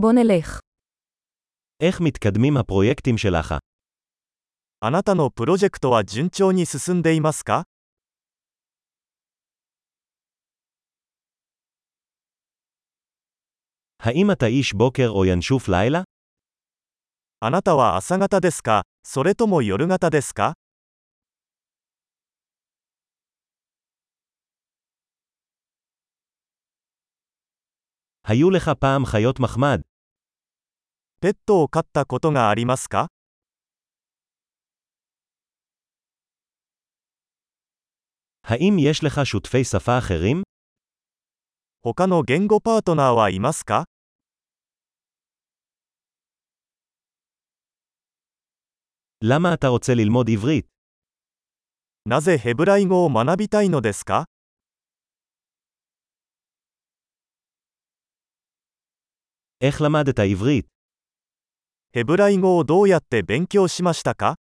בוא נלך. איך מתקדמים הפרויקטים שלך? あなたのプロジェクトは順調に進んでいますか האם אתה איש בוקר או ינשוף לילה? あなたは朝方ですかそれとも夜型ですか היו לך פעם חיות מחמד? ペットを飼ったことがありますか האם יש לך שותפי שפה אחרים? 他の言語パートナーはいますか למה אתה רוצה ללמוד עברית? なぜヘブライ語を学びたいのですか איך למדת עברית? ヘブライ語をどうやって勉強しましたか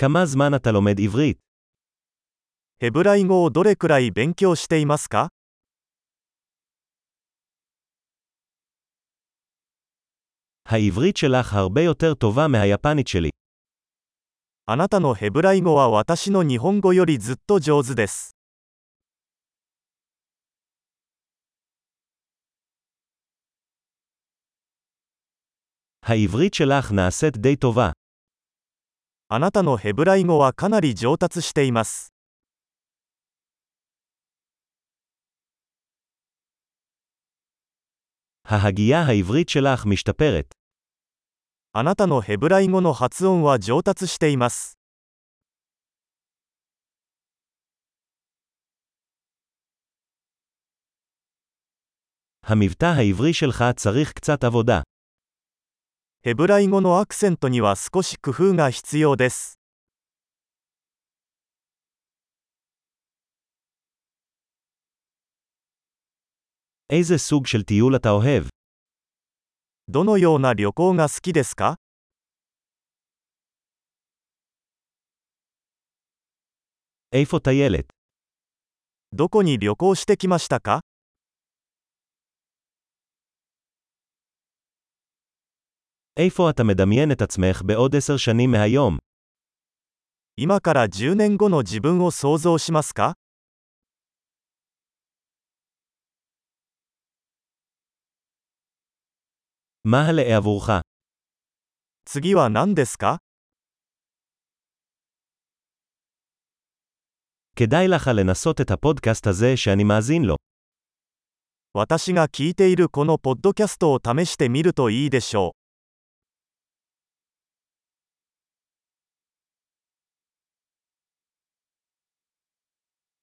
כמה זמן אתה לומד עברית? ヘブライ語をどれくらい勉強していますか העברית שלך הרבה יותר טובה מהיפנית שלי. あなたのヘブライ語は私の日本語よりずっと上手です。 העברית שלך נעשית די טובה. あなたのヘブライ語はかなり上達しています。 ההגייה העברית שלך משתפרת. あなたのヘブライ語の発音は上達しています。 המבטא העברי שלך צריך קצת עבודה. ヘブライ語のアクセントには少し工夫が必要です。 איזה סוג של טיול אתה אוהב? どのような旅行が好きですか איפה טיילת? どこに旅行してきましたか איפה אתה מדמיין את עצמך בעוד עשר שנים מהיום? 今から10年後の自分を想像しますか מה הלאה עבורך? 次は何ですか כדאי לך לנסות את הפודקאסט הזה שאני מאזין לו. 私が聞いているこのポッドキャストを試してみるといいでしょう。